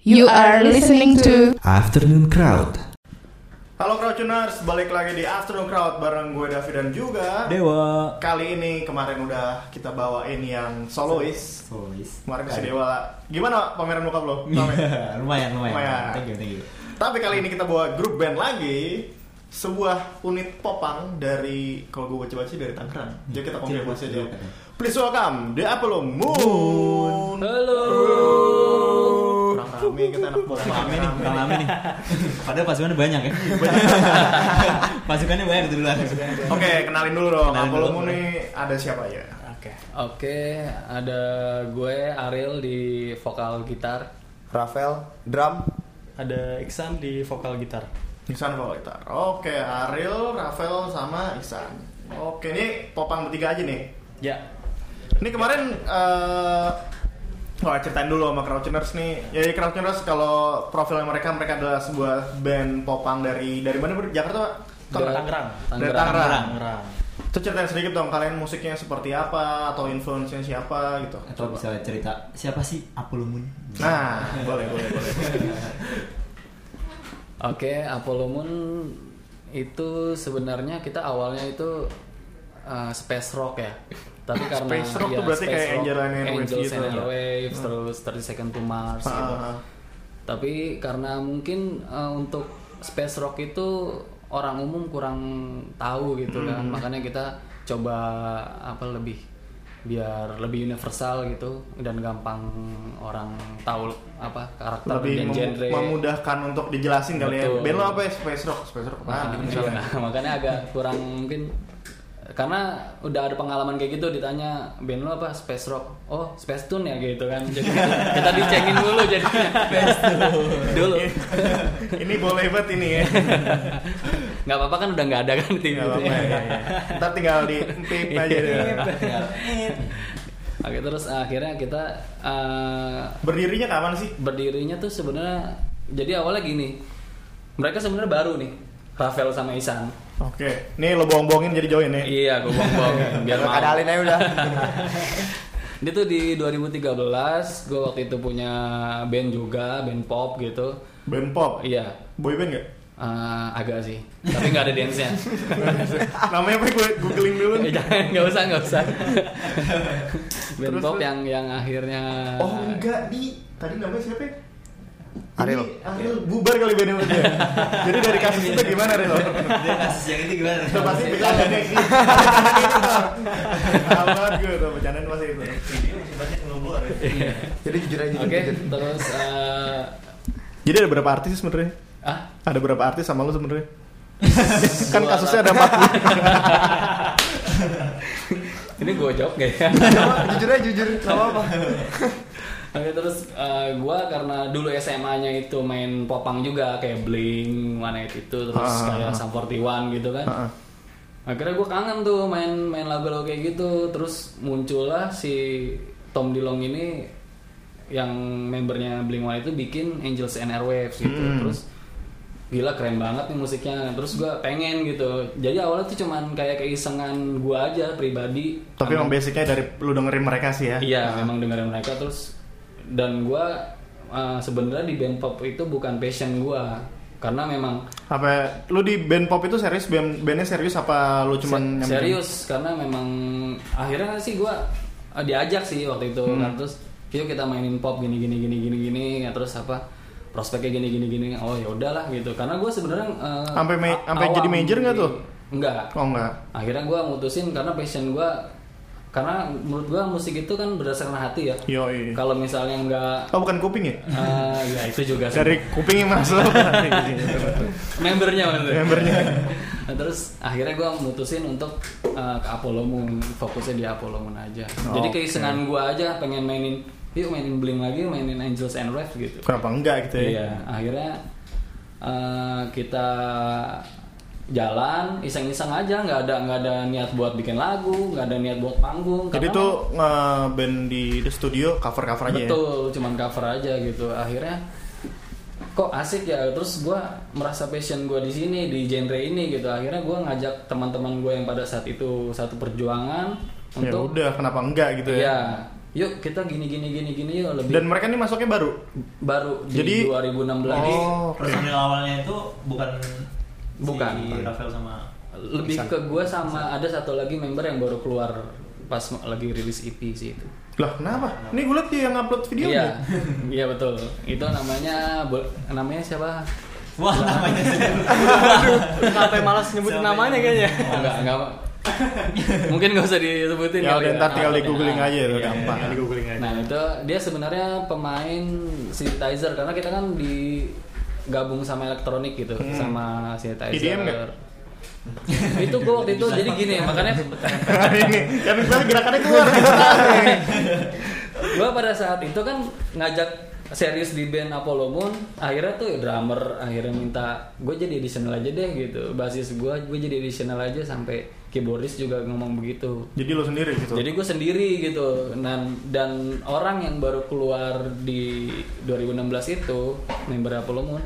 You are listening to Afternoon Crowd. Halo Crowdtuners, balik lagi di Afternoon Crowd bareng gue David dan juga Dewa. Kali ini kemarin udah kita bawain yang solois Solis. Kemarin si Dewa Gimana pameran bokap lo? Iya. Pamer. lumayan, lumayan, Lumayan. Thank you, thank you. Tapi kali ini kita bawa grup band lagi Sebuah unit popang dari Kalau gue baca-baca sih dari Tangerang Jadi Iya, kita konfirmasi aja silakan. Please welcome The Apollo Moon Halo Kurang rame, kita anak bola Rame rame nih, kurang rame nih. Padahal pasukannya banyak ya. pasukannya banyak duluan. Oke, kenalin dulu dong Kenalin Apollo dulu, Moon boleh. nih ada siapa ya? Oke. Oke, ada gue Ariel di vokal gitar, Rafael, drum, ada Iksan di vokal gitar. Iksan bawa gitar. Oke, Ariel, Rafael sama Iksan. Oke, ini popang bertiga aja nih. Ya. Ini kemarin eh wah, ceritain dulu sama Crouchers nih. Ya Crouchers kalau profilnya mereka mereka adalah sebuah band popang dari dari mana? Bro? Jakarta, Pak? Dari Tangerang. Dari Tangerang. Tangerang. Itu ceritain sedikit dong kalian musiknya seperti apa atau influence-nya siapa gitu. Atau Coba. bisa cerita siapa sih Apollo Moon? Nah, boleh, boleh, boleh. Oke, Apollo Moon itu sebenarnya kita awalnya itu uh, space rock ya. Tapi karena Space rock ya, tuh berarti space kayak Angel and Airwaves Angels gitu and ya. Airwaves, terus 30 Second to Mars Ah, gitu. ah, ah. Tapi karena mungkin uh, untuk space rock itu orang umum kurang tahu gitu kan, makanya kita coba apa lebih biar lebih universal gitu dan gampang orang tahu apa karakter Lebih dan mem- genre. memudahkan untuk dijelasin kali ya. Betul. Band lo apa ya? Space rock, space rock. Nah, apaan? misalnya. Nah, makanya agak kurang mungkin karena udah ada pengalaman kayak gitu ditanya band lo apa space rock oh space tune ya gitu kan jadi kita dicengin dulu jadi dulu Iya. ini boleh banget ini ya. nggak apa-apa kan udah nggak ada kan tim Nggak gitu Iya. apa-apa, ya, ya. Ntar tinggal di pip aja deh. Iya. oke terus akhirnya kita eh, Berdirinya kapan sih? berdirinya tuh sebenarnya jadi awalnya gini mereka sebenarnya baru nih Rafael sama Isan Oke, nih lo bohong-bohongin jadi join ya. iya gue bohong biar mau Kadalin aja udah. Dia tuh di 2013 gue waktu itu punya band juga band pop gitu Band pop, iya boy band nggak? eh, agak sih tapi nggak ada dance nya Namanya apa? Gue googling dulu. nih. jangan nggak usah nggak usah band Terus, pop terus. yang yang akhirnya Oh enggak di tadi namanya siapa? ya? Ariel. Ini Ariel bubar kali bandnya sama dia. Jadi dari kasus itu gimana Ariel? Dia kasus yang itu gimana? Itu pasti bisa ada nih. Amat gue tuh bercandain pasti itu. Jadi jujur aja. oke terus eh, Jadi ada berapa artis sih sebenarnya? ah Ada berapa artis sama lo sebenarnya? kan kasusnya ada 40 ini gue jawab nggak ya jujur aja jujur. Gak apa-apa. Oke terus eh, gua karena dulu SMA-nya itu main popang juga kayak Blink, One itu terus Ah. kayak Sum 41 gitu kan. Ah. Akhirnya gua kangen tuh main main lagu-lagu kayak gitu. Terus muncullah si Tom Dilong ini yang membernya Blink One itu bikin Angels and Airwaves gitu. Hmm. Terus gila keren banget nih musiknya. Terus gua pengen gitu. Jadi awalnya tuh cuman kayak keisengan gua aja pribadi. Tapi Sama- emang basicnya dari lu dengerin mereka sih ya Iya, memang dengerin mereka terus dan gua uh, sebenarnya di band pop itu bukan passion gua karena memang Apa lu di band pop itu serius band bandnya serius apa lu cuman se- nyamperin? serius karena memang akhirnya sih gua uh, diajak sih waktu itu Hmm. kan terus yuk kita mainin pop gini gini gini gini gini ya, terus apa prospeknya gini gini gini oh ya udahlah gitu karena gua sebenarnya uh, Sampai ma- a- sampai jadi awam major nggak di- tuh? Enggak. Oh enggak. Akhirnya gua mutusin karena passion gua karena menurut gua musik itu kan berdasarkan hati ya. Yo iya. Kalau misalnya nggak Oh bukan kuping ya? Ah, ya itu juga sih. Dari kupingnya masuk. membernya maksudnya. Membernya. Nah, terus akhirnya gue mutusin untuk eh, ke Apollo Moon, fokusnya di Apollo Moon aja. Jadi Oke. keisengan gue aja pengen mainin, yuk mainin Blink lagi, yuk mainin Angels and Ref gitu. Kenapa enggak gitu ya? Iya, akhirnya eh, kita jalan iseng-iseng aja, nggak ada nggak ada niat buat bikin lagu, nggak ada niat buat panggung. Jadi karena tuh nge-band di the studio cover-cover aja ya. Betul, cuman cover aja gitu. Akhirnya kok asik ya. Terus gua merasa passion gua di sini di genre ini gitu. Akhirnya gua ngajak teman-teman gue yang pada saat itu satu perjuangan Ya untuk udah kenapa enggak gitu ya? Iya. yuk kita gini gini gini gini yuk lebih Dan mereka ini masuknya baru. baru Jadi- di 2016 Jadi Oh, oke. personil awalnya itu bukan Bukan. si Rafael sama lebih ke gue sama ada satu lagi member yang baru keluar pas lagi rilis EP sih itu Lah, kenapa? Ini gue liat dia yang upload video iya iya betul itu namanya bo- namanya siapa Wah namanya Sampai malas nyebutin Sampai namanya malas. kayaknya. enggak enggak mungkin nggak usah disebutin Ya kali udah ntar tinggal di Ah, Nah, googling nah, aja itu iya. gampang. Di googling aja. Nah itu dia sebenarnya pemain synthesizer karena kita kan digabung sama elektronik gitu Hmm. sama synthesizer. EDM nggak? ya. itu gue waktu itu jadi gini makanya ini kan misalnya gerakannya keluar. gue pada saat itu kan ngajak serius di band Apollo Moon akhirnya tuh drummer akhirnya minta gue jadi additional aja deh gitu basis gue gue jadi additional aja sampai keyboardis juga ngomong begitu Jadi lo sendiri gitu. Jadi gue sendiri gitu dan dan orang yang baru keluar di 2016 itu member Apollo Moon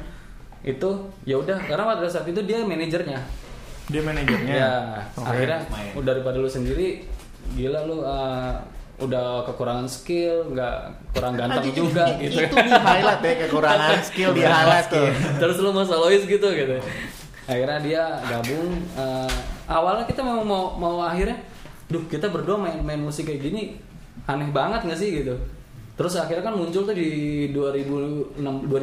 itu ya udah karena pada saat itu dia manajernya. dia manajernya. Ya akhirnya udah daripada lu sendiri gila lu eh, udah kekurangan skill nggak kurang ganteng juga gitu. Itu di highlight ya kekurangan skill di Iya, highlight tuh. Iya, Terus lu mau solois gitu gitu. Akhirnya dia gabung eh, awalnya kita memang mau mau akhirnya duh kita berdua main main musik kayak gini aneh banget nggak sih gitu. Terus akhirnya kan muncul tuh di 2006 2015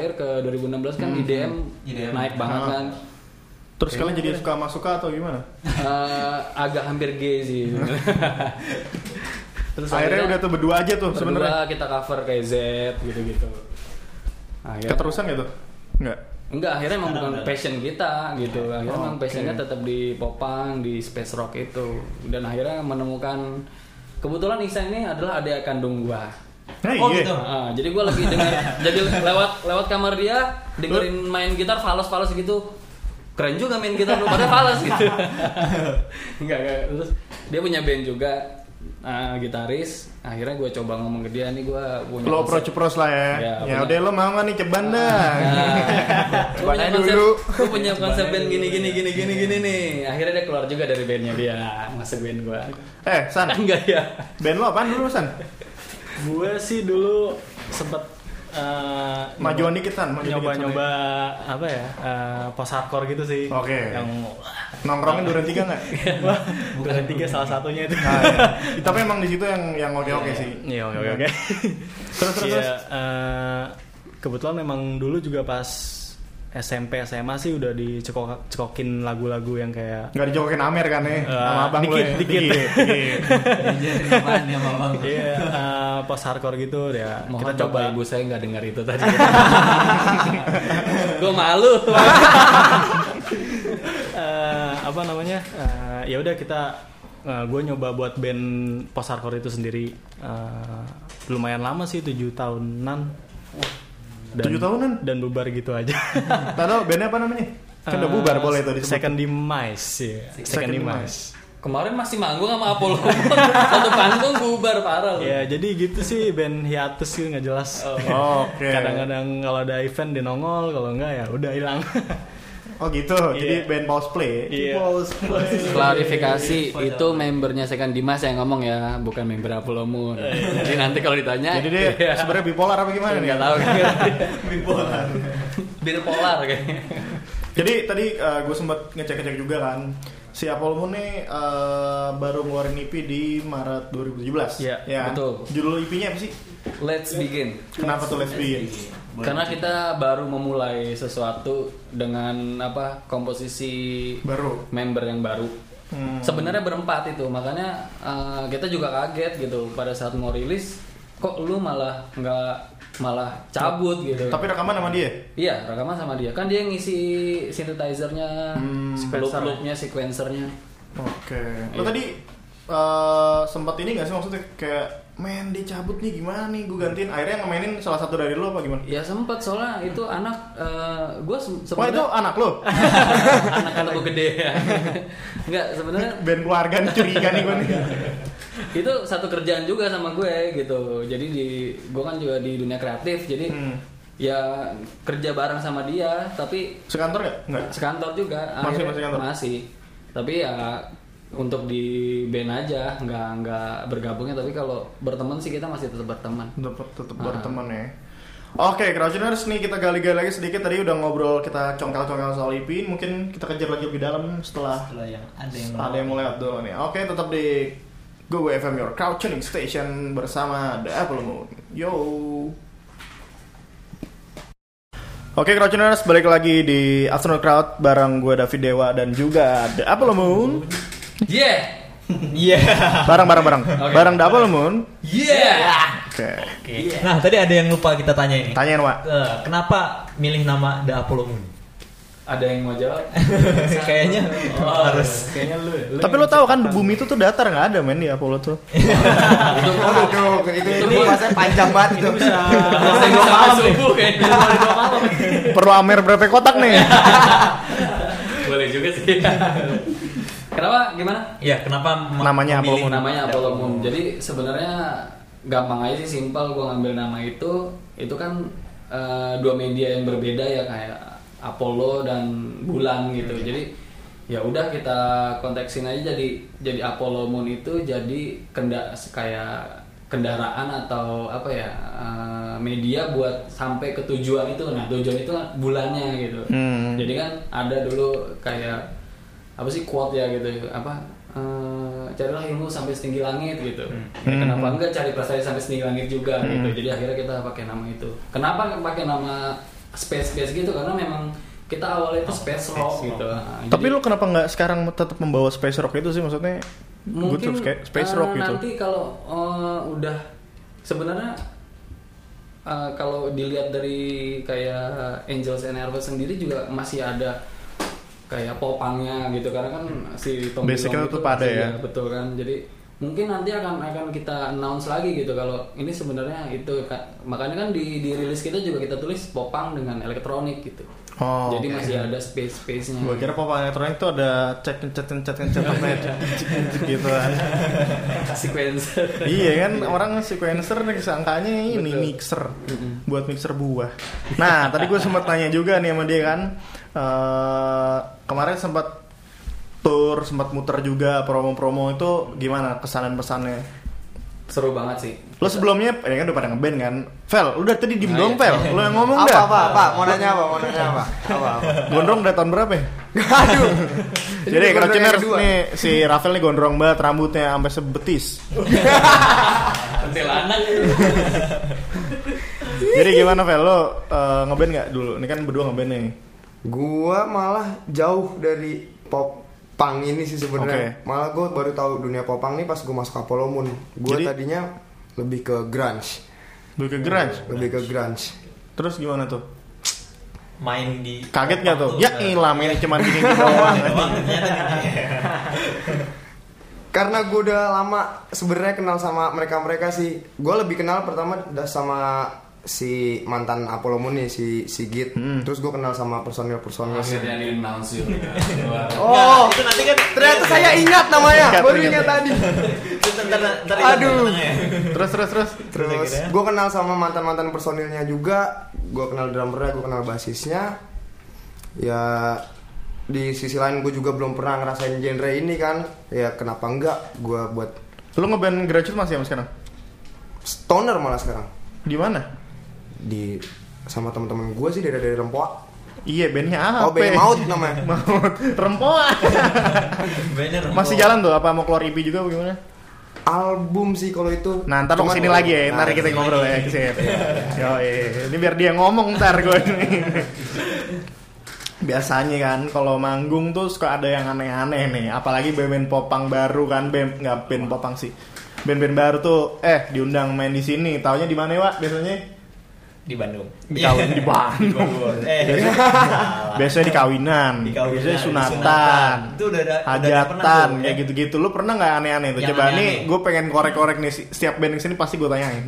akhir ke 2016 kan Hmm, IDM, IDM. Ah. naik banget kan. Terus kalian jadi suka sama suka atau gimana? Eh, agak hampir gay sih. Terus Akhirnya udah tuh berdua aja tuh sebenarnya. sebenarnya kita cover kayak Z gitu-gitu. Akhirnya- Keterusan gitu? Enggak. Enggak, akhirnya emang Sekarang bukan udah. passion kita gitu. Akhirnya emang Oke. passionnya tetap di popang, di space rock itu. Dan akhirnya menemukan kebetulan Iksan ini adalah adik kandung gua. Nah, Oh, iya. gitu. Ah, jadi gua lebih dengar jadi lewat lewat kamar dia dengerin main gitar falas-falas gitu. Keren juga main gitar lu pada falas gitu. enggak, enggak. Terus dia punya band juga ah, gitaris. Akhirnya gua coba ngomong ke dia nih gua punya Lo konsep- approach-approach lah ya. Ya, Ya Iya, benar. Iya. udah lo mau nggak nih ceban dah. Gue punya Cobanya konsep, dulu. gue punya konsep band gini gini gini gini gini nih. Akhirnya dia keluar juga dari bandnya dia, masuk band gue. Eh, San. Enggak ya. Band lo apaan dulu, San? Gue sih dulu sempet eh, Majuan dikit, San. ya. Majuan dikit, San. nyoba-nyoba apa ya eh, post hardcore gitu sih Oke. yang Nongkrongnya durian tiga nggak? bukan tiga salah satunya itu Nah, ya. Tapi emang di situ yang yang oke-oke sih. Iya, oke, oke, oke. Terus, terus, Iya, terus. eh, kebetulan memang dulu juga pas SMP SMA sih udah dicekok cekokin lagu-lagu yang kayak Nggak dijokokin Amer kan ya? Sama Eh, abang lo dikit, ya? dikit. dikit. Jadi apaan ya Oh. Bang? Iya, eh, post hardcore gitu ya. Mohon kita coba. ibu saya nggak dengar itu tadi. gue malu. Eh, apa namanya? Eh, ya udah kita gue nyoba buat band post hardcore itu sendiri Eh, lumayan lama sih 7 tahunan. Dan- Tujuh tahunan? dan bubar gitu aja. Tahu bandnya apa namanya? Kan udah Eh, bubar boleh tuh disebut. Second Demise, ya. Second, Second Demise. Kemarin masih manggung sama Apollo. Iya. Satu panggung bubar parah lu. Ya jadi gitu sih band hiatus gitu nggak jelas. Oh, Oke. Kadang-kadang kalau ada event di nongol, kalau nggak ya udah hilang. Oh gitu. Jadi Iya. band pause play. Iya. Pause play. Klarifikasi itu membernya Second Dimas yang ngomong ya, bukan member Apollo Moon. Jadi nanti kalau ditanya, Jadi dia iya. sebenarnya bipolar apa gimana Iya, nih? nggak tahu. kan. Bir polar kayaknya. Jadi tadi gue sempat ngecek-ngecek juga kan. Si Apollo Moon nih eh, baru ngeluarin EP di Maret 2017. Iya, ya. betul. Judul EP-nya apa sih? Let's begin. Kenapa tuh Let's Begin? Karena kita baru memulai sesuatu dengan apa komposisi Baru. member yang baru. Hmm. Sebenarnya berempat itu, makanya eh, kita juga kaget gitu pada saat mau rilis, kok lu malah nggak malah cabut gitu. Tapi rekaman sama dia. Iya, rekaman sama dia. Kan dia yang ngisi synthesizernya, Hmm. loop-loopnya, sequencernya. Oke. Lo tadi eh, sempat ini gak sih maksudnya kayak men dicabut nih gimana nih gue gantiin akhirnya yang mainin salah satu dari lo apa gimana? Ya sempet soalnya itu anak gue Wah itu sebenarnya anak lo? anak-anak gue gede ya. Enggak, sebenarnya Band keluarga nih curiga nih gue nih. itu satu kerjaan juga sama gue gitu jadi di gue kan juga di dunia kreatif jadi Hmm. ya kerja bareng sama dia tapi Sekantor gak? Enggak. sekantor juga Masih- Akhirnya- masih kantor? masih tapi ya untuk di band aja nggak nggak bergabungnya tapi kalau berteman sih kita masih tetap berteman Tetap tetap berteman ya. Oke, Crowdtuners nih kita gali-gali lagi sedikit tadi udah ngobrol kita congkel-congkel soal IP, mungkin kita kejar lagi lebih dalam setelah setelah yang ada yang ada yang mulai dulu nih. Oke, tetap di Go FM Your Crowdtuning Station bersama The Apple Moon. Yo. Oke, Crowdtuners balik lagi di Afternoon Crowd bareng gue David Dewa dan juga The Apple Moon. yeah Iya. Bareng bareng bareng. Bareng The Apple Moon. Yeah. Oke. Oke. Nah, tadi ada yang lupa kita tanya ini. Tanyain, Wak. Eh, kenapa milih nama The Apollo Moon? ada yang mau jawab Oh, Kayaknya harus Kayaknya lu ya. Tapi lo tahu kan bumi itu tuh datar nggak ada men di Apollo tuh. Itu iya. aduh, itu itu bahasanya panjang banget itu. Bisa dua malam subuh kayaknya Bisa dua malam Perlu amer berapa kotak nih? boleh juga sih kenapa gimana Ya, kenapa ma- Namanya Apollo memilih Moon. namanya The Apollo Moon. Jadi sebenarnya gampang aja sih simpel gue ngambil nama itu. Itu kan eh, dua media yang berbeda ya kayak Apollo dan bulan gitu. Iya. Jadi ya udah kita konteksin aja jadi jadi Apollo Moon itu jadi kenda kayak kendaraan atau apa ya eh, media buat sampai ke tujuan itu. Nah, tujuan itu kan bulannya gitu. Hmm. Jadi kan ada dulu kayak apa sih quote ya gitu apa eh, carilah ilmu sampai setinggi langit gitu. Ya, kenapa enggak cari prestasi sampai setinggi langit juga gitu. Jadi akhirnya kita pakai nama itu. Kenapa pakai nama space space gitu? Karena memang kita awalnya itu space rock gitu. Nah, Tapi jadi lo kenapa nggak sekarang tetap membawa space rock itu sih maksudnya? Good mungkin terus kayak space eh, rock gitu. Nanti kalau eh, udah sebenarnya eh, kalau dilihat dari kayak Angels and Airwaves sendiri juga masih ada kayak popangnya gitu karena kan si Tom Basicnya Dilong itu tetap ada masih ya. ada, betul kan jadi mungkin nanti akan akan kita announce lagi gitu kalau ini sebenarnya itu Kak. makanya kan di di rilis kita juga kita tulis popang dengan elektronik gitu Oh. jadi masih ada space space nya Gue kira pop elektronik itu ada chat chat chat chat chat gitu kan. sequencer Iya kan orang sequencer nih sangkanya ini Betul. mixer buat mixer buah. Nah tadi gue sempat tanya juga nih sama dia kan eh, kemarin sempat tour sempat muter juga promo-promo itu gimana kesan dan pesannya? seru banget sih Lo sebelumnya ya kan udah pada ngeband kan? Fel, lu dari tadi diem dong Fel, lo yang ngomong Oh, dah. iya. Apa apa apa? Mau nanya apa? Mau nanya apa? Apa apa? Gondrong dari tahun berapa ya? Jadi Aduh. gondrong yang kerocener kedua. nih si Rafael nih gondrong banget rambutnya sampai sebetis. Kuntilanak Jadi gimana Fel lo eh, ngeband nggak dulu? Ini kan berdua ngeband nih. Gua malah jauh dari pop punk ini sih sebenarnya. Oke. Malah gua baru tahu dunia pop punk nih pas gua masuk Apollo Moon. Gua Jadi- tadinya lebih ke grunge, Dulu ke grunge. lebih ke grunge. Terus gimana tuh? Main di Kaget nggak tuh? Ya Eh, ilah ini cuman gini doang. doang, ternyata gini. Karena gua udah lama sebenarnya kenal sama mereka-mereka sih. Gua lebih kenal pertama udah sama si mantan Apollo Moon nih si Sigit. Hmm. Terus gua kenal sama personil-personil sih. akhirnya di announce juga Oh, Itu nanti kan ternyata saya ingat namanya. Ingat, Ya, Baru ingat. ingat tadi. Ntar- ntar- ntar- ya. ntar- ntar- Aduh. ntar- Terus terus terus. Terus gue kenal sama mantan-mantan personilnya juga Gue kenal drummernya, gue kenal basisnya Ya di sisi lain gue juga belum pernah ngerasain genre ini kan Ya kenapa enggak gue buat Lo ngeband grunge itu masih sama sekarang? stoner malah sekarang Di mana? di sama teman-teman gue sih dari dari Rempoa Iya bandnya apa? Oh Benny Maut namanya Maut. Rempoa. Banner. Masih jalan tuh? Apa mau keluar EP juga apa gimana? Album sih kalau itu Nah ntar lo Cuman- kesini lagi ya, ntar Nah, kita kesini ngobrol ya lagi. kesini. Yo, ini biar dia ngomong ntar gue ini. Biasanya kan kalau manggung tuh suka ada yang aneh-aneh nih, apalagi band-band popang baru kan, band nggak band popang sih, band-band baru tuh eh diundang main di sini, taunya di mana Wak biasanya? di Bandung. Di kawin- di Bandung. Iya. Iya. Eh, Biasanya di kawinan, Ah. Di kawinan, biasanya di Hmm. sunatan, Itu udah ada udah ada pernah hajatan, tuh, kayak gitu. ya. gitu-gitu. Lu pernah nggak aneh-aneh tuh? Yang Coba nih, aneh-aneh. gue pengen korek-korek nih si- setiap band kesini pasti gue tanyain.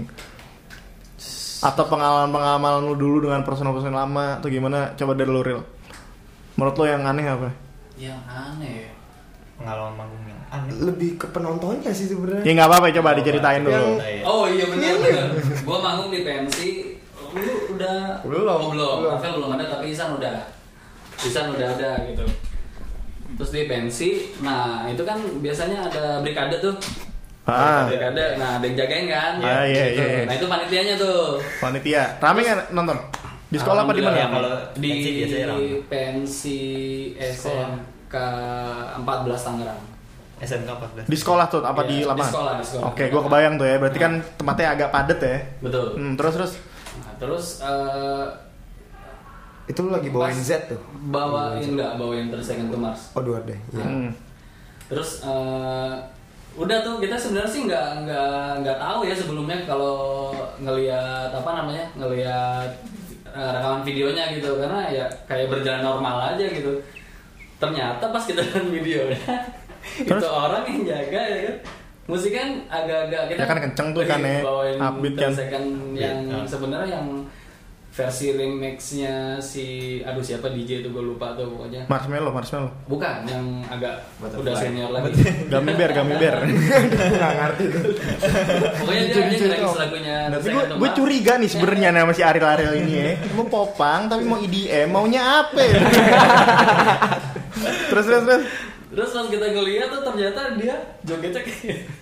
Atau pengalaman-pengalaman lu dulu dengan personal-personal lama atau gimana? Coba dari lu real. Menurut lo yang aneh apa? yang aneh ya Pengalaman manggung yang aneh. lebih ke penontonnya sih Ya sebenarnya nggak apa-apa, coba diceritain dulu. Yang- Eh. Oh iya benar benar. gua manggung di pensi. Lu udah Belum, Oh, belum. belum. Rafael belum ada tapi Isan udah. Isan udah ada gitu. terus dia pensi nah itu kan biasanya ada brigade tuh Ah, brigade nah ada yang jagain kan Ah, iya, Gitu. iya, iya. nah itu panitianya tuh panitia. Rame nggak nonton? Di sekolah apa di Alhamdulillah, mana? Kalau di pensi biasanya ramai. pensi SMK 14 Tangerang SMK 14 Di sekolah tuh apa Iya, di di lapangan? sekolah, di sekolah. Oke, gua kebayang tuh ya. Berarti kan tempatnya agak padat ya. betul Hmm, terus terus nah, terus eh, Itu lu lagi bawain Pas- Z tuh. bawain enggak bawain terus second to Mars Oh, dua deh. Iya. hmm. Terus eh, udah tuh kita sebenarnya sih nggak nggak nggak tahu ya sebelumnya kalau ngelihat apa namanya ngelihat eh, rekaman videonya gitu karena ya kayak berjalan normal aja gitu. Ternyata pas kita lihat videonya itu orang yang jaga ya kan. Musik kan agak-agak kita Ya kan kenceng tuh kan ya, bawain upbeat kan. tersekan yang Iya. sebenarnya yang versi remixnya si aduh siapa DJ itu gue lupa tuh pokoknya marshmallow, marshmallow. bukan yang agag Butterfly. udah senior lagi Gummy bear, gummy bear. Nggak ngerti tuh. pokoknya dia dia ngerangis lagunya Tapi Second gue to gue Mars. curiga nih sebenarnya sama si Ariel Ariel ini ya. Mau popang tapi mau IDM, maunya apa? ya? terus terus terus. terus pas kita ngeliat tuh ternyata dia jogetnya kayak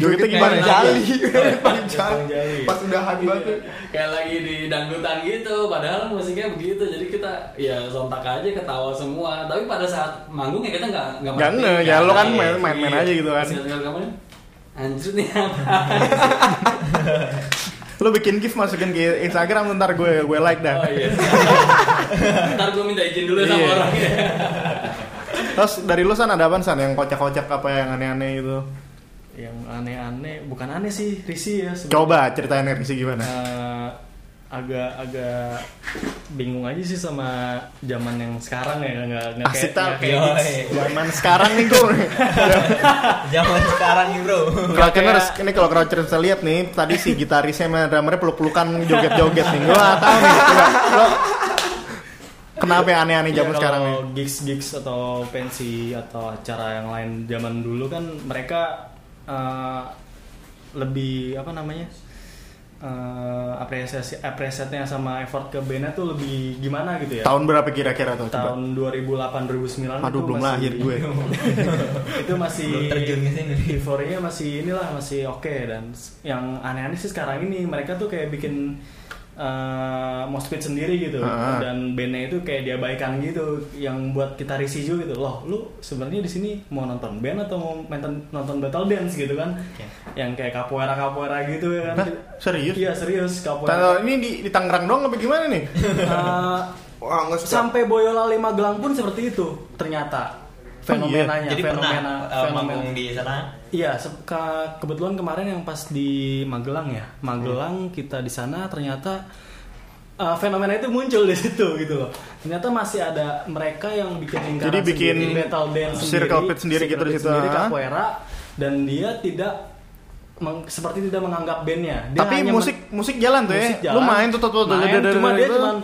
Jogetnya gimana? kayak Jali. ya? Bang Jali. Jali. Pas udah ya. hanbat tuh. kayak lagi di dangdutan gitu padahal musiknya begitu jadi kita ya sontak aja ketawa semua tapi pada saat manggung ya kita nggak nggak Gak nge, ya lo kan iya, main- main-main aja gitu kan. kamu anjir ya? nih apa Lo bikin gif masukin ke Instagram ntar gue gue like oh dah. iya ntar gue minta izin dulu sama Iya. orangnya Terus dari lo san ada apa san yang kocak-kocak apa yang aneh-aneh gitu? yang aneh-aneh bukan aneh sih risi ya sebenarnya. Coba ceritain Risi gimana? Eh, agak-agak bingung aja sih sama zaman yang sekarang ya nggak Nah, nggak Asik kayak tak? nggak kayak Yoi. Zaman sekarang nih gue. Zaman sekarang nih bro Crowdtuners, ini kalau Crouchers bisa lihat nih, tadi si gitarisnya sama drummernya peluk-pelukan joget-joget nih. Gue gak tau nih, coba lo kenapa ya aneh-aneh zaman Ya, sekarang nih? kalau gigs-gigs atau pensi atau acara yang lain zaman dulu kan mereka eh, lebih apa namanya eh, apresiasi apresiatnya sama effort ke bandnya tuh lebih gimana gitu ya Tahun berapa kira-kira tuh? Coba. tahun 2008 2009 Aduh itu belum masih- lahir gue. itu masih Belum terjun ya. ke sini. euforianya masih inilah masih oke dan s- yang aneh-aneh sih sekarang ini mereka tuh kayak bikin eh mospit sendiri gitu Ah. dan bandnya itu kayak diabaikan gitu yang buat kita risih juga gitu loh lu sebenarnya di sini mau nonton band atau mau nonton nonton battle dance gitu kan Oke. yang kayak kapuera kapuera gitu ya Hah? kan Serius? iya serius Tanggal kapuera ini di, di Tangerang doang apa gimana nih? Eh, Wah, nggak suka. sampai Boyolali Magelang pun seperti itu ternyata Oh iya. fenomenanya Jadi pernah fenomena eh, fenomena manggung di sana Iya, se- ke- kebetulan kemarin yang pas di Magelang ya. Magelang Hmm. kita di sana ternyata uh, fenomena itu muncul di situ gitu loh. Ternyata masih ada mereka yang bikin lingkaran Jadi bikin sendiri, metal dance sendiri, circle pit sendiri circle gitu di pit situ, sendiri, ah. capoeira, dan dia tidak meng- seperti tidak menganggap bandnya. Dia Tapi hanya men- musik musik jalan tuh ya. musik jalan, Lu main tuh tuh tuh tuh, main, tuh, tuh, cuma tuh, dia tuh. cuman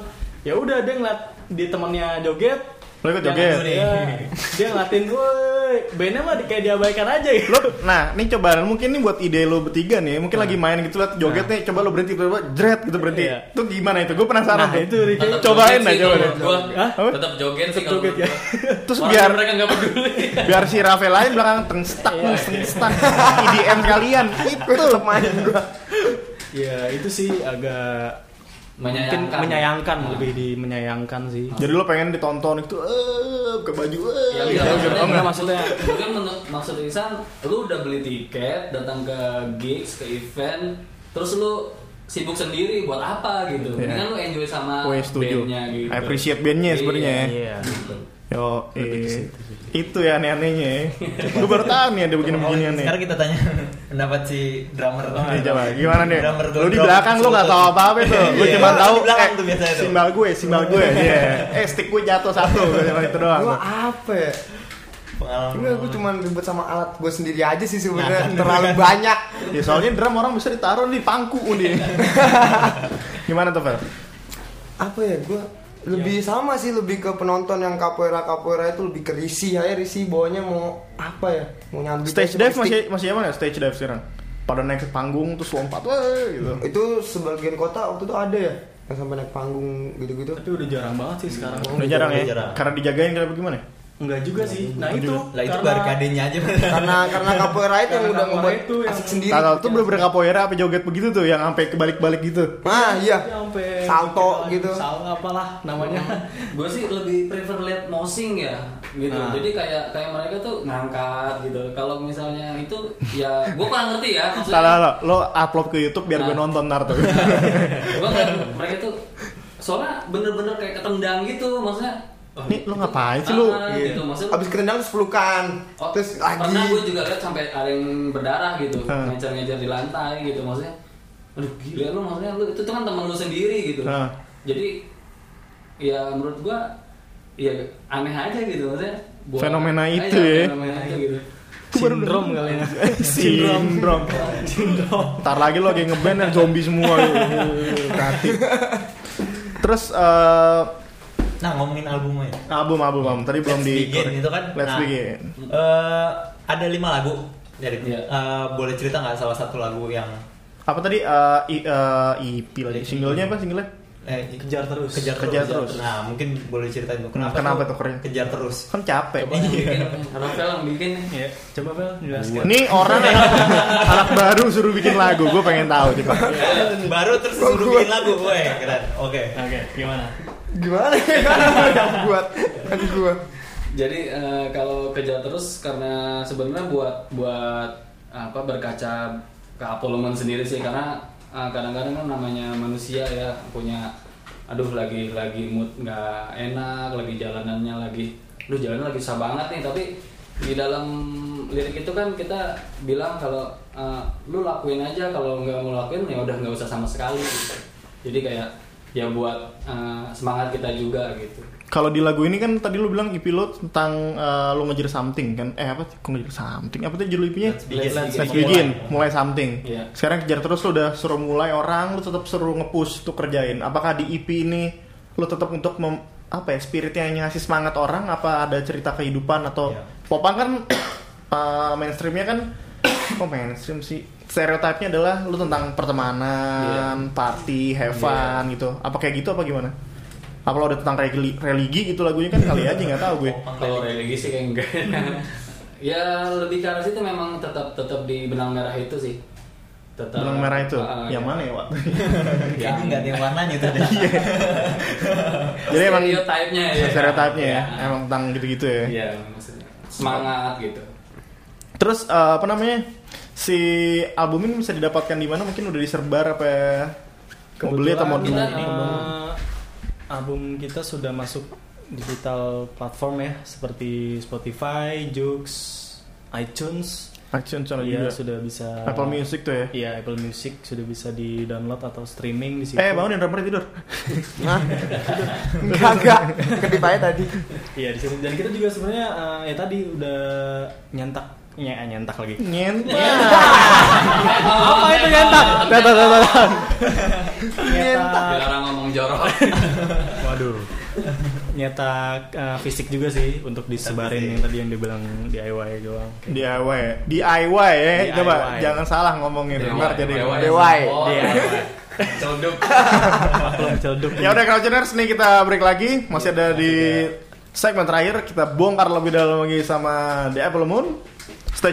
ya udah dia ngeliat di temennya joget Lo ikut dia joget? ngeliat- iya. dia ngeliatin woi bandnya mah di- kayak diabaikan aja gitu Lo, nah, ini coba mungkin ini buat ide lo bertiga nih. Mungkin lagi main gitu liat jogetnya, coba lo berhenti tiba-tiba jret gitu berhenti. Iya. Itu gimana itu? Gue penasaran Nah, tuh. itu, Ricky. Tetap Cobain joget dah, sih coba kalau deh. gua. Hah? tetap joget sih Tetap kalau joget ya. gua. Terus Walaupun biar- mereka nggak peduli Biar si Rafael lain belakang tengstak, tengstak. IDM kalian itu main gua. Ya itu sih agak mungkin menyayangkan menyayangkan Nah. lebih di menyayangkan sih. Jadi lo pengen ditonton itu eh ke baju eh. Ya, gitu. enggak, maksudnya, Oh, enggak. maksudnya mungkin menurut maksud Isan lu udah beli tiket datang ke gigs ke event terus lu sibuk sendiri buat apa gitu Iya. mendingan lu enjoy sama Gue setuju. bandnya gitu I appreciate bandnya Iya. sebenarnya ya. Iya. Yo, eh, Lebih ke situ itu ya aneh-anehnya ya. Gue baru tahu nih ada begini-begini Oh, aneh. Sekarang kita tanya pendapat si drummer. Nih Iya, coba gimana nih? Drummer tuh, Lu di drummer belakang lu nggak tuh. tahu apa-apa tuh. Lu Iya. cuma tahu Di belakang eh, tuh biasanya tuh. simbal gue, simbal gue. Iya. Eh stick gue jatuh satu, Gua cuma itu doang. Gua apa ya? Pengalaman. Enggak, gue cuman ribut sama alat gue sendiri aja sih sebenarnya terlalu banyak. Ya soalnya drum orang bisa ditaruh di pangku nih. Gimana tuh, Fel? Apa ya gue lebih sama sih lebih ke penonton yang kapoeira kapoeira itu lebih ke risih aja risih bawahnya mau apa ya mau nyambi Stage dive masih masih apa ya? Stage dive sekarang. Pada naik ke panggung terus lompat weh gitu. itu sebagian kota waktu itu ada ya yang sampai naik panggung gitu-gitu Tapi udah jarang banget sih sekarang. Udah jarang ya. jarang. Karena dijagain ya? kali apa gimana? Enggak juga sih. Nah itu Lah itu barikadenya aja karena karena copyright yang Karena udah ngebuat copyright itu yang- asik Iya. sendiri Tatal tuh bener-bener capoeira apa joget begitu tuh yang sampai kebalik-balik gitu. nah iya Ya, sampai salto gitu Salto apalah namanya. gue sih lebih prefer lihat mousing ya gitu Nah. jadi kayak kayak mereka tuh ngangkat gitu kalau misalnya itu ya gue kurang ngerti ya Tatal maksudnya lo, lo upload ke YouTube biar Ah. gue Nah. nonton ntar tuh. gue kan mereka tuh soalnya bener-bener kayak ketendang gitu maksudnya oh, Nih, lo gitu. ngapain sih lo? Ah, gitu maksudnya abis ketendang terus pelukan Oh, terus Pernah gue lagi juga lihat sampai ada yang berdarah gitu, Hah. ngejar-ngejar di lantai gitu maksudnya. Aduh gila lu maksudnya lu itu tuh kan teman lu sendiri gitu. Hah. Jadi ya menurut gua ya aneh aja gitu maksudnya. buat- Fenomena Ah, itu iya, ya. Fenomena itu gitu. Sindrom kali ya. Sindrom. Sindrom. Ntar lagi lo kayak ngeband yang zombie semua lo. Kati. Terus eh, Nah ngomongin albumnya ya. album album album tadi belum Let's di Begin itu kan. Let's Nah, begin. eh, ada lima lagu dari Iya. eh, boleh cerita nggak salah satu lagu yang Apa tadi eh, I- eh, EP lagi? Singlenya apa singlenya? eh, Kejar terus. kejar, Kejar terus. Nah mungkin boleh ceritain tuh kenapa, Kenapa tuh tuh keren? kejar terus. Iya. Kan capek. Coba yang bikin, Iya. Rafael yang bikin nih. Ya, coba Bel jelaskan. Ini orang anak, anak baru suruh bikin lagu, gue pengen tahu sih pak. Baru terus suruh bikin lagu, gue keren. Oke. Oke, gimana? gimana ya buat kan gue Jadi eh, kalau kejar terus karena sebenarnya buat buat apa berkaca ke Apoloman sendiri sih karena eh, kadang-kadang kan namanya manusia ya punya aduh lagi lagi mood nggak enak lagi jalanannya lagi aduh jalannya lagi susah banget nih tapi di dalam lirik itu kan kita bilang kalau eh, lu lakuin aja kalau nggak mau lakuin ya udah nggak usah sama sekali gitu. jadi kayak ya buat eh, semangat kita juga gitu Kalau di lagu ini kan tadi lu bilang EP lo tentang eh, lu ngejar something kan? Eh apa sih? Kok ngejar something? Apa tuh judul EP-nya? Let's begin. Let's Let's begin. begin, Iya, mulai something. Iya. Sekarang kejar terus lu udah suruh mulai orang, lu tetap suruh ngepush tuh kerjain. Apakah di EP ini lu tetap untuk mem- apa ya spiritnya yang ngasih semangat orang? Apa ada cerita kehidupan atau Iya. popang kan eh, mainstreamnya kan kok mainstream sih? Stereotipnya adalah lu tentang Iya. pertemanan, party, have fun gitu. Apa kayak gitu apa gimana? Apa lo udah tentang religi, religi gitu lagunya kan kali aja nggak tahu gue. kalau religi sih kayak enggak ya lebih ke arah situ memang tetap tetap di benang merah itu sih tetap Belang merah itu, Ah, yang mana ya, Wak? Kayaknya nggak ada yang warnanya tuh. deh. Jadi emang stereotipnya ya stereotipnya ya, Iya. emang tentang gitu-gitu ya. Iya, maksudnya semangat gitu Terus eh, apa namanya si album ini bisa didapatkan di mana? Mungkin udah diserbar apa? ya? Mau beli atau mau Kebetulan mau- kita, mau- Eh, album kita sudah masuk digital platform ya seperti Spotify, Joox, iTunes. Action channel Ah, Iya, juga. sudah bisa Apple Music tuh ya. Iya, Apple Music sudah bisa di-download atau streaming di situ. Eh bangunin drummer tidur. enggak enggak kedip aja tadi Iya, di situ. Dan kita juga sebenarnya eh, ya tadi udah nyentak ya, nyentak lagi. Nyentak. Iya. Apa itu nyentak? Tar, tar, tar, tar. Nyentak. dilarang ngomong jorok Waduh. Nyetak eh, fisik juga sih untuk disebarin yang tadi yang dibilang DIY doang. DIY, DIY ya, DIY. coba jangan salah ngomongin ntar jadi. Dewai. Oh. Celduk. Maklum celduk. Ya udah Crowdgeners nih kita break lagi, Iya, masih ada di segmen terakhir kita bongkar lebih dalam lagi sama The Apple Moon. Stay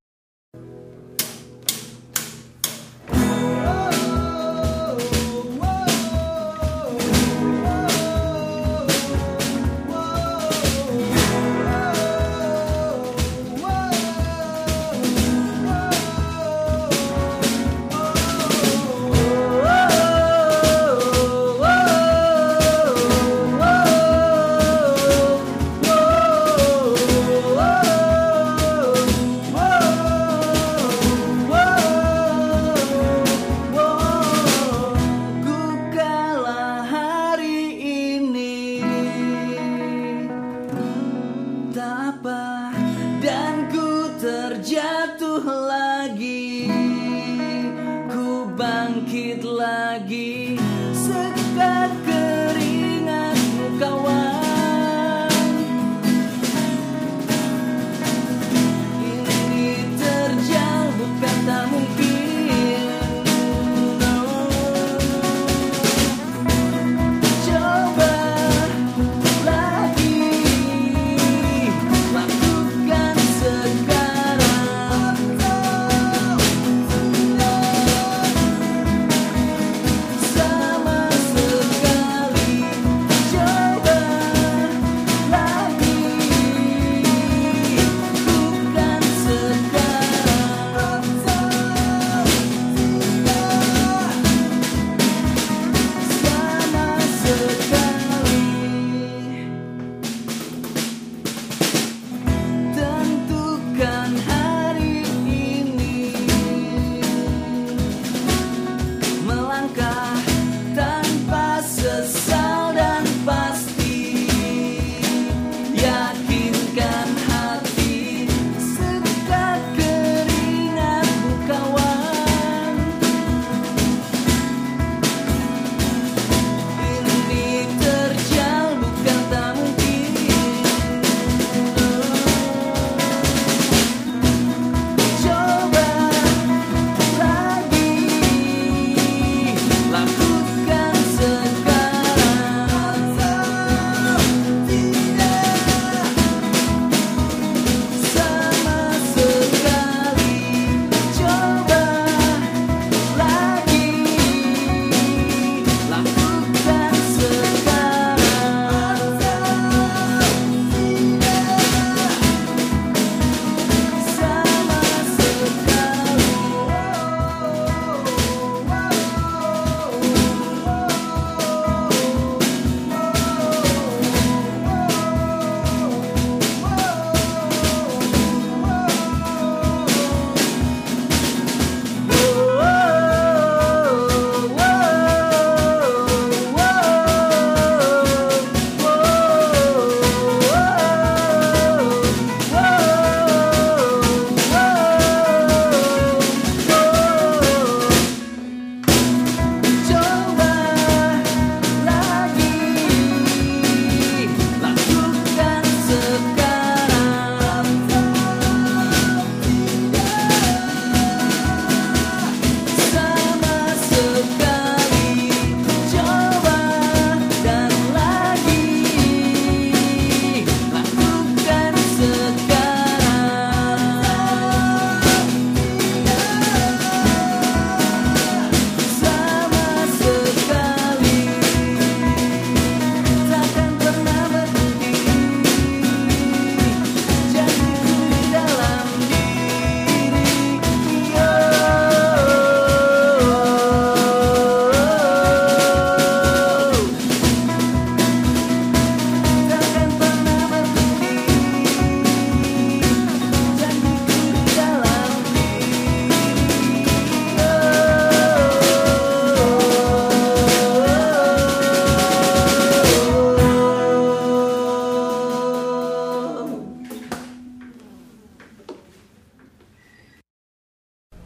Whoa!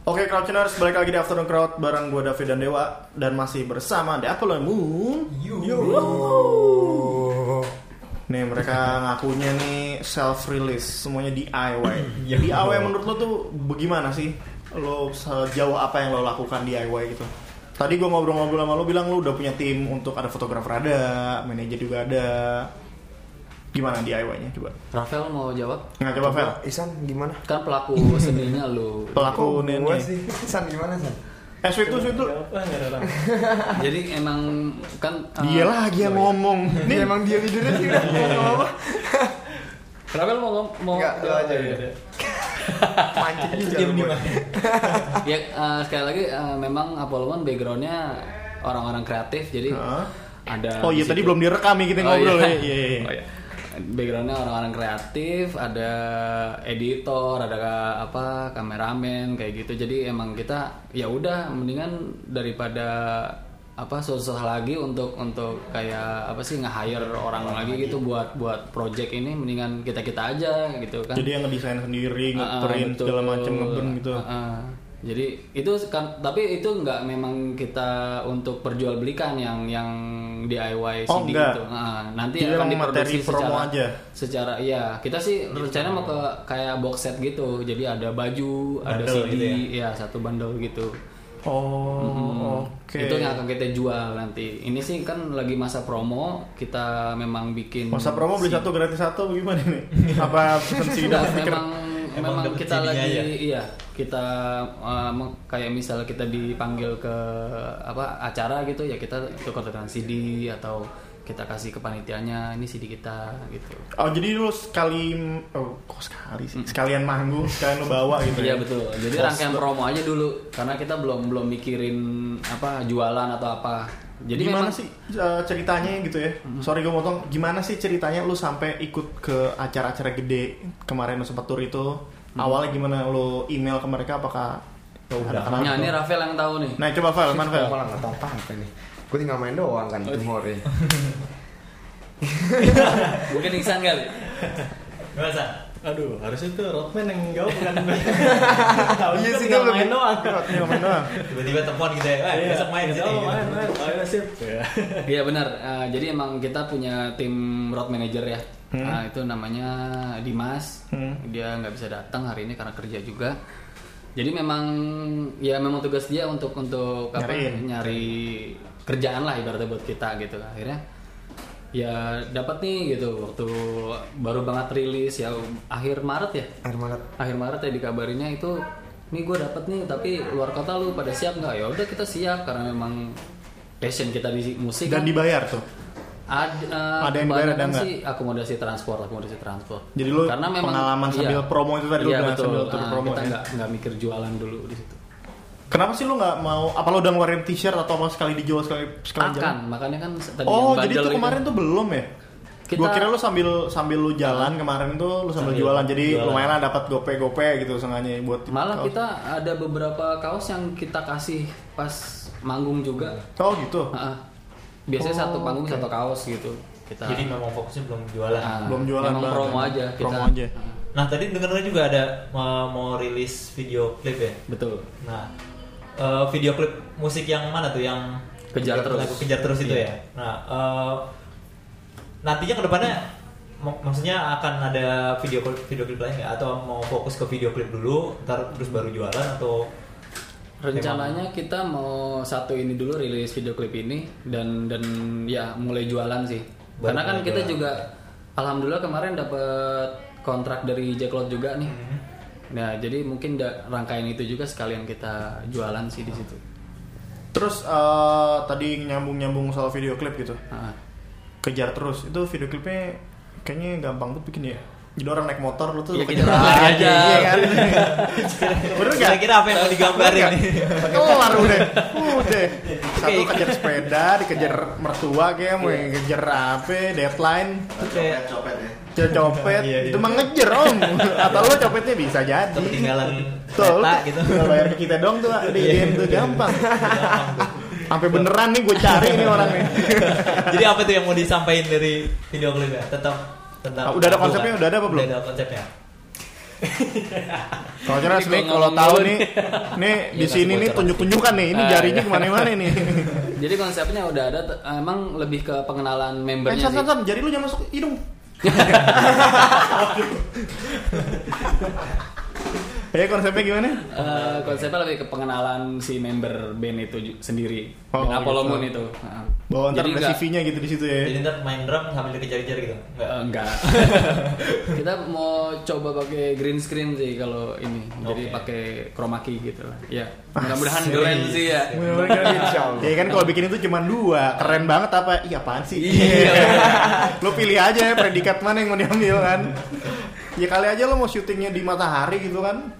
Crowdtuners balik lagi di Afternoon Crowd bareng gue David dan Dewa dan masih bersama The Apple and Moon. Nih mereka ngakunya nih self release semuanya DIY. Yo. DIY menurut lo tuh bagaimana sih? Lo sejauh apa yang lo lakukan DIY gitu? Tadi gue ngobrol-ngobrol sama lo bilang lo udah punya tim untuk ada fotografer ada, manajer juga ada. Gimana DIY-nya coba? Rafael mau jawab? Nggak coba Fel? Isan gimana? Kan pelaku seninya lu. Pelaku Kok Nene. gua sih. Isan gimana San? Eh sweet tuh sweet tuh. Wah, nggak ada orang. Jadi emang kan Ah. eh, Dia lagi yang oh iya. ngomong. Ini emang dia leadernya sih Iya, udah ngomong apa? Rafael mau ngom- mau Enggak, Iya, lu aja Nggak ada. Pancing Itu juga dia lu, Boy. gimana? ya eh, sekali lagi eh, memang Apollo One backgroundnya orang-orang kreatif jadi Heeh. ada Oh iya di tadi situ. belum direkam ya kita ngobrol ya. Iya iya. Oh, iya. Backgroundnya orang-orang kreatif, ada editor, ada ka- apa kameramen kayak gitu. Jadi emang kita ya udah mendingan daripada apa susah lagi untuk untuk kayak apa sih nge-hire orang lagi gitu buat buat project ini mendingan kita kita aja gitu kan. Jadi yang ngedesain sendiri, Ah, ngeprint betul. segala macam ngebun gitu. Ah, ah. jadi itu kan tapi itu nggak memang kita untuk perjualbelikan yang yang DIY Oh, sendiri nggak. itu. Ah, nanti Jadi akan emang materi diproduksi promo secara aja. Gitu. secara iya kita sih rencananya mau ke kayak box set gitu. Jadi ada baju, ada Bundle CD, gitu ya. satu bundle gitu. Oh, oke. Itu yang akan kita jual nanti. Ini sih kan lagi masa promo, kita memang bikin Masa promo beli satu gratis satu bagaimana nih? Apa pesan si Udah, Ida pikir? Iya, memang Emang memang dapet kita CD-nya lagi aja? iya kita uh, meng- kayak misal kita dipanggil ke apa acara gitu ya kita tukar-tukaran CD atau kita kasih ke panitianya ini CD kita gitu Oh jadi lu sekali oh, kok sekali sih? Sekalian manggung, sekalian lu bawa gitu. Iya ya? betul. Jadi Kos- rangkaian promo aja dulu karena kita belum belum mikirin apa jualan atau apa. Jadi gimana memang sih uh, ceritanya gitu ya? Sorry gue motong. Gimana sih ceritanya lu sampai ikut ke acara-acara gede kemarin lu sempat tur itu? Awalnya gimana lu email ke mereka apakah Oh, ada udah. kenal Nah, tuh? ini Rafael yang tahu nih. Nah coba Val, mana Val? Gua malah nggak tahu apa-apa nih. Gue tinggal main doang kan tumor ya. Mungkin Iksan kali. Gimana San? Aduh, harusnya tuh Rodman yang jawab kan. Iya Iya kan sih sih, dia lebih- main doang. Ini komen Iya, doang. Tiba-tiba telepon gitu ya, "Wah, Iya. besok main sini. Oh, gitu. main, main. Oh, iya, sip. Iya. Iya benar. Eh, jadi emang kita punya tim road manager ya. Hmm. Nah, itu namanya Dimas. Dia nggak bisa datang hari ini karena kerja juga. Jadi memang ya memang tugas dia untuk untuk apa Nyariin. nyari kerjaan lah ibaratnya buat kita gitu. Akhirnya ya dapat nih gitu waktu baru banget rilis ya akhir Maret ya Air malat. akhir Maret ya dikabarinnya itu nih gue dapet nih tapi luar kota lu pada siap nggak ya udah kita siap karena memang passion kita di musik Dan kan. dibayar tuh. Ad- eh, Ada yang dibayar, ada kebanyakan nggak? sih akomodasi transport akomodasi transport Jadi lu pengalaman sambil promo itu tadi lu iya, bilang, betul. sambil tur Ah, promo kita ya. nggak nggak mikir jualan dulu di situ Kenapa sih lu nggak mau? Apa lu udah ngeluarin t-shirt atau mau sekali dijual sekali sekali akan jalan? makanya kan tadi Oh jadi yang bandel itu itu. kemarin tuh belum ya? Kita- Gua kira lu sambil sambil lu jalan kemarin tuh lu sambil jualan jadi lumayan lah dapat gope-gope gitu sengaja buat malah kaos. kita ada beberapa kaos yang kita kasih pas manggung juga Oh gitu. Ah, ah. biasanya satu panggung satu kaos gitu kita Jadi memang fokusnya belum jualan. ah, Belum jualan emang banget. ya? promo aja kita Promo aja. Ah, Nah, tadi dengar juga ada mau, mau rilis video klip ya. betul Nah, eh, video klip musik yang mana tuh yang Kejar Terus. lagu kejar terus itu ya. Nah, eh, nantinya kedepannya mak- maksudnya akan ada video klip video klip lain nggak? Atau mau fokus ke video klip dulu, ntar terus baru jualan atau Rencananya kita mau satu ini dulu rilis video klip ini dan dan ya mulai jualan sih. Baru Karena kan mulai kita jualan. juga alhamdulillah kemarin dapat kontrak dari Jacklot juga nih. Mm-hmm. Nah, jadi mungkin da- rangkaian itu juga sekalian kita jualan sih di situ. Terus eh, tadi nyambung-nyambung soal video klip gitu. Ah. Kejar terus. Itu video klipnya kayaknya gampang banget bikin ya. Jadi orang naik motor lu tuh Ya, lu Iya, gitu. kita lari aja. Iya kan? Bener nggak? kira-kira apa yang mau digambarin nih? Kelar udah. Udah. Satu Oke. kejar sepeda, dikejar mertua kayak mau ngejar apa, deadline, Kayak Copet ya. kejar copet. Iya, iya. Itu mah ngejer om. Atau lo copetnya bisa jadi. ketinggalan Tuh, kereta gitu. Tinggal bayar ke kita dong tuh, Pak. di game tuh gampang. Sampai beneran nih gue cari nih orang nih. Jadi apa tuh yang mau disampaikan dari video klipnya? Tetap ya? tentang Ah, udah ada konsepnya? Udah ada apa belum? Udah ada konsepnya. Kalau jelas Ini nih gua kalau ngomong tahu dulu nih, nih di sini Iya, kasih nih bocoran. tunjuk-tunjukkan nih, ini Ah, jarinya iya. kemana-mana nih. Jadi konsepnya udah ada, t- emang lebih ke pengenalan Eh, membernya san, sih. san, san, jari lu jangan masuk hidung. Ya konsepnya gimana? Eh, konsepnya lebih ke pengenalan si member band itu ju- sendiri. Oh, Band Apollo gitu. Moon itu. Heeh. Bahwa ntar ada nggak- CV-nya gitu di situ ya. Iya. Jadi ntar main drum sambil dikejar-kejar gitu. Enggak. Ah. eh, enggak. Kita mau coba pakai green screen sih kalau ini. Jadi Oke. pakai chroma key gitu lah. Ya. Mudah-mudahan keren sih ya. Iya, Insya Allah. Ya kan kalau bikin itu cuma dua, keren banget apa? Iya apaan sih? Iya. lo pilih aja ya predikat mana yang mau diambil kan. Ya kali aja lo mau syutingnya di matahari gitu kan.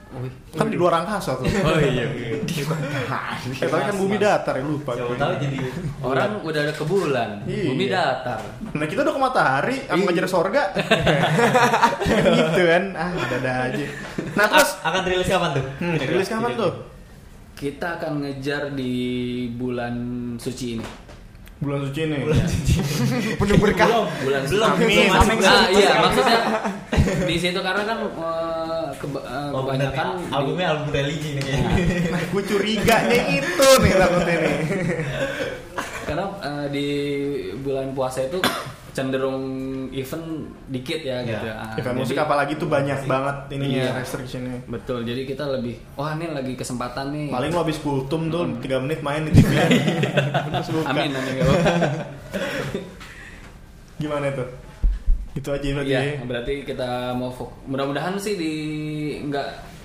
Kan di luar angkasa tuh. Oh iya. Eh tapi kan bumi datar ya lupa. Siapa gue. tahu jadi Orang udah ada ke bulan, Iya. bumi Iya. datar. Nah kita udah ke matahari, sama ngejar sorga. gitu kan. Ah ada-ada aja. Nah terus, A- Ah. akan rilis kapan tuh? Iya, hmm, Kira-kira. rilis kapan tuh? Kita akan ngejar di bulan suci ini. Bulan suci ini. Penuh berkah. bulan Belum. Masih Amin. Amin. Nah, belum. iya maksudnya di situ karena kan eh, keba- eh, Oh, bener kebanyakan nih. di- albumnya album religi nih kayaknya. Gue curiganya itu nih takutnya nih. Ah, karena eh, di bulan puasa itu cenderung event dikit ya Ya, gitu. Ah, Iya. Event jadi- musik apalagi tuh banyak banget Iya. ininya restrictionnya. Betul. Jadi kita lebih wah ini lagi kesempatan nih. Paling lo habis kultum tuh 3 menit main di TV. Terus buka. Hmm. Iya. Amin amin. ya Allah. Gimana tuh? Itu aja berarti. Iya, ya. berarti kita mau fok- mudah-mudahan sih di nggak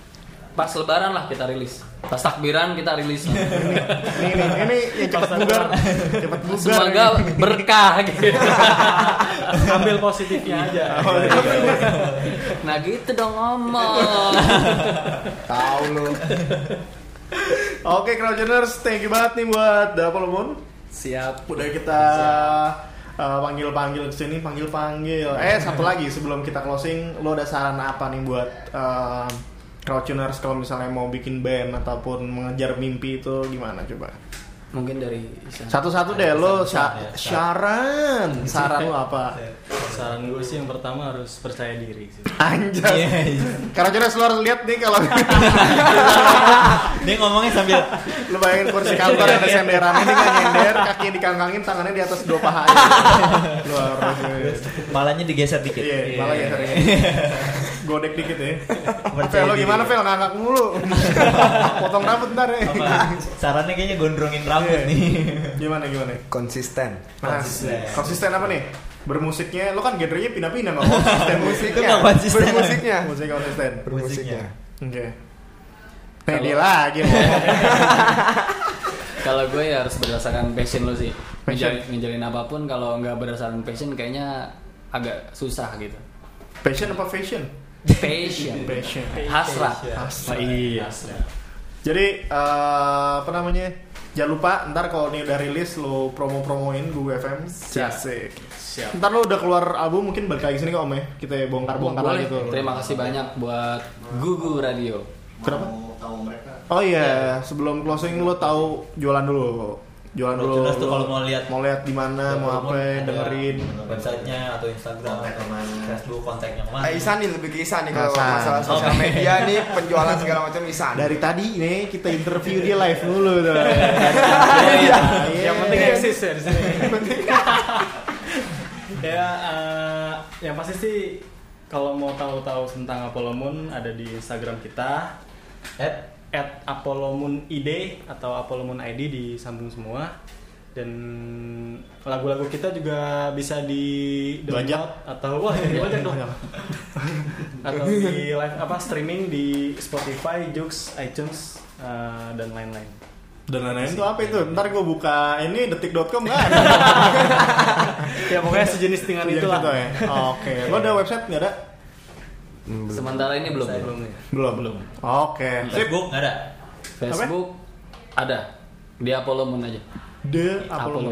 pas lebaran lah kita rilis. Pas takbiran kita rilis. Nih nih ini yang cepat bugar. Cepat bugar. ya. Semoga berkah gitu. Iya, ambil positifnya aja Nah gitu dong ngomong. Tahu lu. Oke, Crowdjourners, thank you banget nih buat The Apollo Moon. Siap. Udah kita uh, panggil-panggil ke sini, panggil-panggil. Eh, satu lagi sebelum kita closing, lo ada saran apa nih buat uh, Crowdtuners kalau misalnya mau bikin band ataupun mengejar mimpi itu gimana coba? Mungkin dari Isan. Satu-satu deh Satu-satu lo sya- ya, saran, saran lo apa? saran gue sih yang pertama harus percaya diri sih Iya, Anjay. Crowdtuners lo harus lihat nih kalau Dia ngomongnya sambil lo bayangin kursi kantor ada senderan ini kan nyender, kaki dikangkangin, tangannya di atas dua paha. aja. Lo harus malanya digeser dikit. Iya, malah ya sering. Godek dikit ya. Percaya Fel, lo diri. gimana Fel? Ngangkak mulu. Potong rambut ntar ya. Apa? Sarannya kayaknya gondrongin rambut Iya. nih. Gimana, gimana? Konsisten. Nah, Konsisten. konsisten apa nih? Bermusiknya, lo kan genrenya pindah-pindah nggak konsisten musik. Itu nggak konsisten. Bermusiknya. Musik konsisten. Bermusiknya. Oke. Nih Kalau- dia lagi. mau. Kalau gue ya harus berdasarkan passion lo sih. Passion. Ngejalin, ngejalin apapun kalau nggak berdasarkan passion kayaknya agak susah gitu. Passion apa fashion? Passion. Passion. Hasrat. Hasrat. Oh, iya. Nah, Jadi eh, apa namanya? Jangan lupa ntar kalau ini udah rilis lo promo-promoin Google FM. Siap. Asik. siap Ntar lo udah keluar album mungkin balik lagi sini ke Om ya. Kita bongkar-bongkar lagi Boleh. tuh. Terima kasih banyak buat Gugu Radio. Kenapa? Oh iya, sebelum closing lo tahu jualan dulu. Jualan Kalau dulu. jelas tuh lo kalau mau lihat- mau lihat di mana, mau apa, Ada dengerin. Iya. websitenya atau Instagram atau Facebook kontaknya kemana? Eh, Ah, Isan nih lebih ke Isan nih kalau Hasan. masalah sosial media nih penjualan segala macam Oh, Isan. iya. Nah, Dari tadi nih kita interview dia live dulu tuh. Iya. Ah, yang penting eksis ya di sini ya eh, yang pasti sih kalau mau tahu-tahu tentang Apollo Moon ada di Instagram kita At at Apollo Moon ID atau Apollo Moon ID disambung semua dan lagu-lagu kita juga bisa di download atau wah ya, dibajak dong atau di live apa streaming di Spotify, Joox, iTunes eh, dan lain-lain. Dan lain-lain tuh apa itu? Ntar gue buka ini detik.com nggak ada. Ya pokoknya sejenis dengan Yang itulah. gitu ya. Oke, lo ada website nggak ada? Sementara ini belum. Saya Belum ya? Hmm, Belum. Belum. Oke. Sip. Facebook nggak ada. Facebook ada. Di Apollo Moon aja. The Apollo Apollo.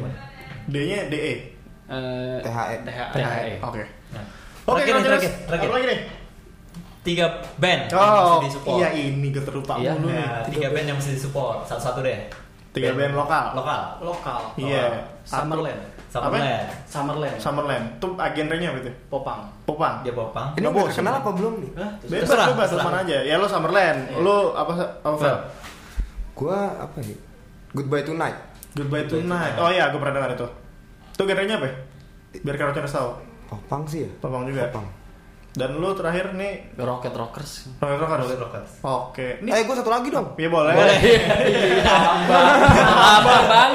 Moon. Nah. D-nya DE. Eh, E. THE. E. THE. Oke. Nah. Ah, Oke, ya, Terakhir nih, Rogers. terakhir, terakhir. Apa lagi nih? Tiga band yang Oh, mesti disupport. iya ini keterlupa Iya. mulu nih. Nah, tiga band yang mesti disupport satu-satu deh. Tiga band lokal. lokal lokal Iya. Summerland Summerland Summerland Summerland. Itu agenrenya apa itu? Popang Popang. dia popang Ini Nggak udah bosen. kenal apa belum nih? Hah? Bebas Terserah, bebas terserah. Iya. mana aja. Ya lo Summerland. Lo apa apa Fel? Gua apa ya? Goodbye Tonight. Goodbye Tonight. Oh iya, gue pernah dengar itu. Itu genrenya apa? ya? Biar karakter tahu. Popang sih ya. Popang juga. Popang. Dan lu terakhir nih Rocket Rockers. Rocket Rockers. Rocket Rockers. Oke. Nih, Eh, gua satu lagi dong. ya boleh. Apa bang?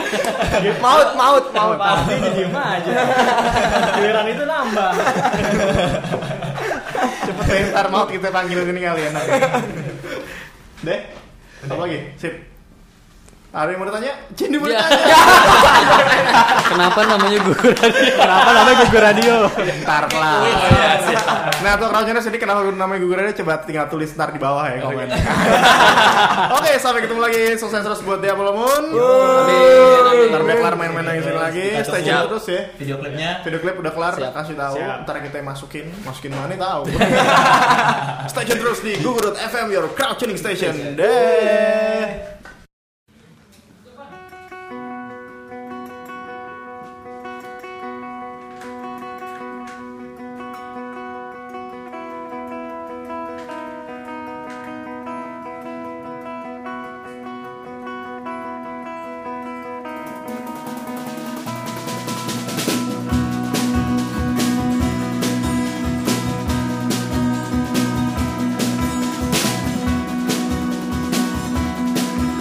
maut, maut, maut. Ini diem aja Giliran itu nambah Cepet deh, ntar mau kita panggil sini kali enak. ya. Deh. Apa lagi? Sip. Ada yang mau tanya? Cindy mau Ya. tanya. Kenapa namanya gugur? Kenapa namanya Gugur Radio? Ntar lah. Nah, untuk crowdnya sendiri kenapa namanya Gugur Radio coba tinggal tulis ntar di bawah ya. komen. Oke, sampai ketemu lagi. Sukses terus buat Diablo Moon. Ntar biar kelar main-main lagi sini lagi. Kita Stay tunggu. tune terus ya. video klipnya Video klip udah kelar, Siap. kasih tahu. Siap. Ntar kita masukin, masukin mana tahu. Stay tune terus di Google FM your crowd tuning station. Deh. Thank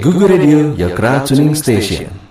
Gugu Radio, your crowd tuning station.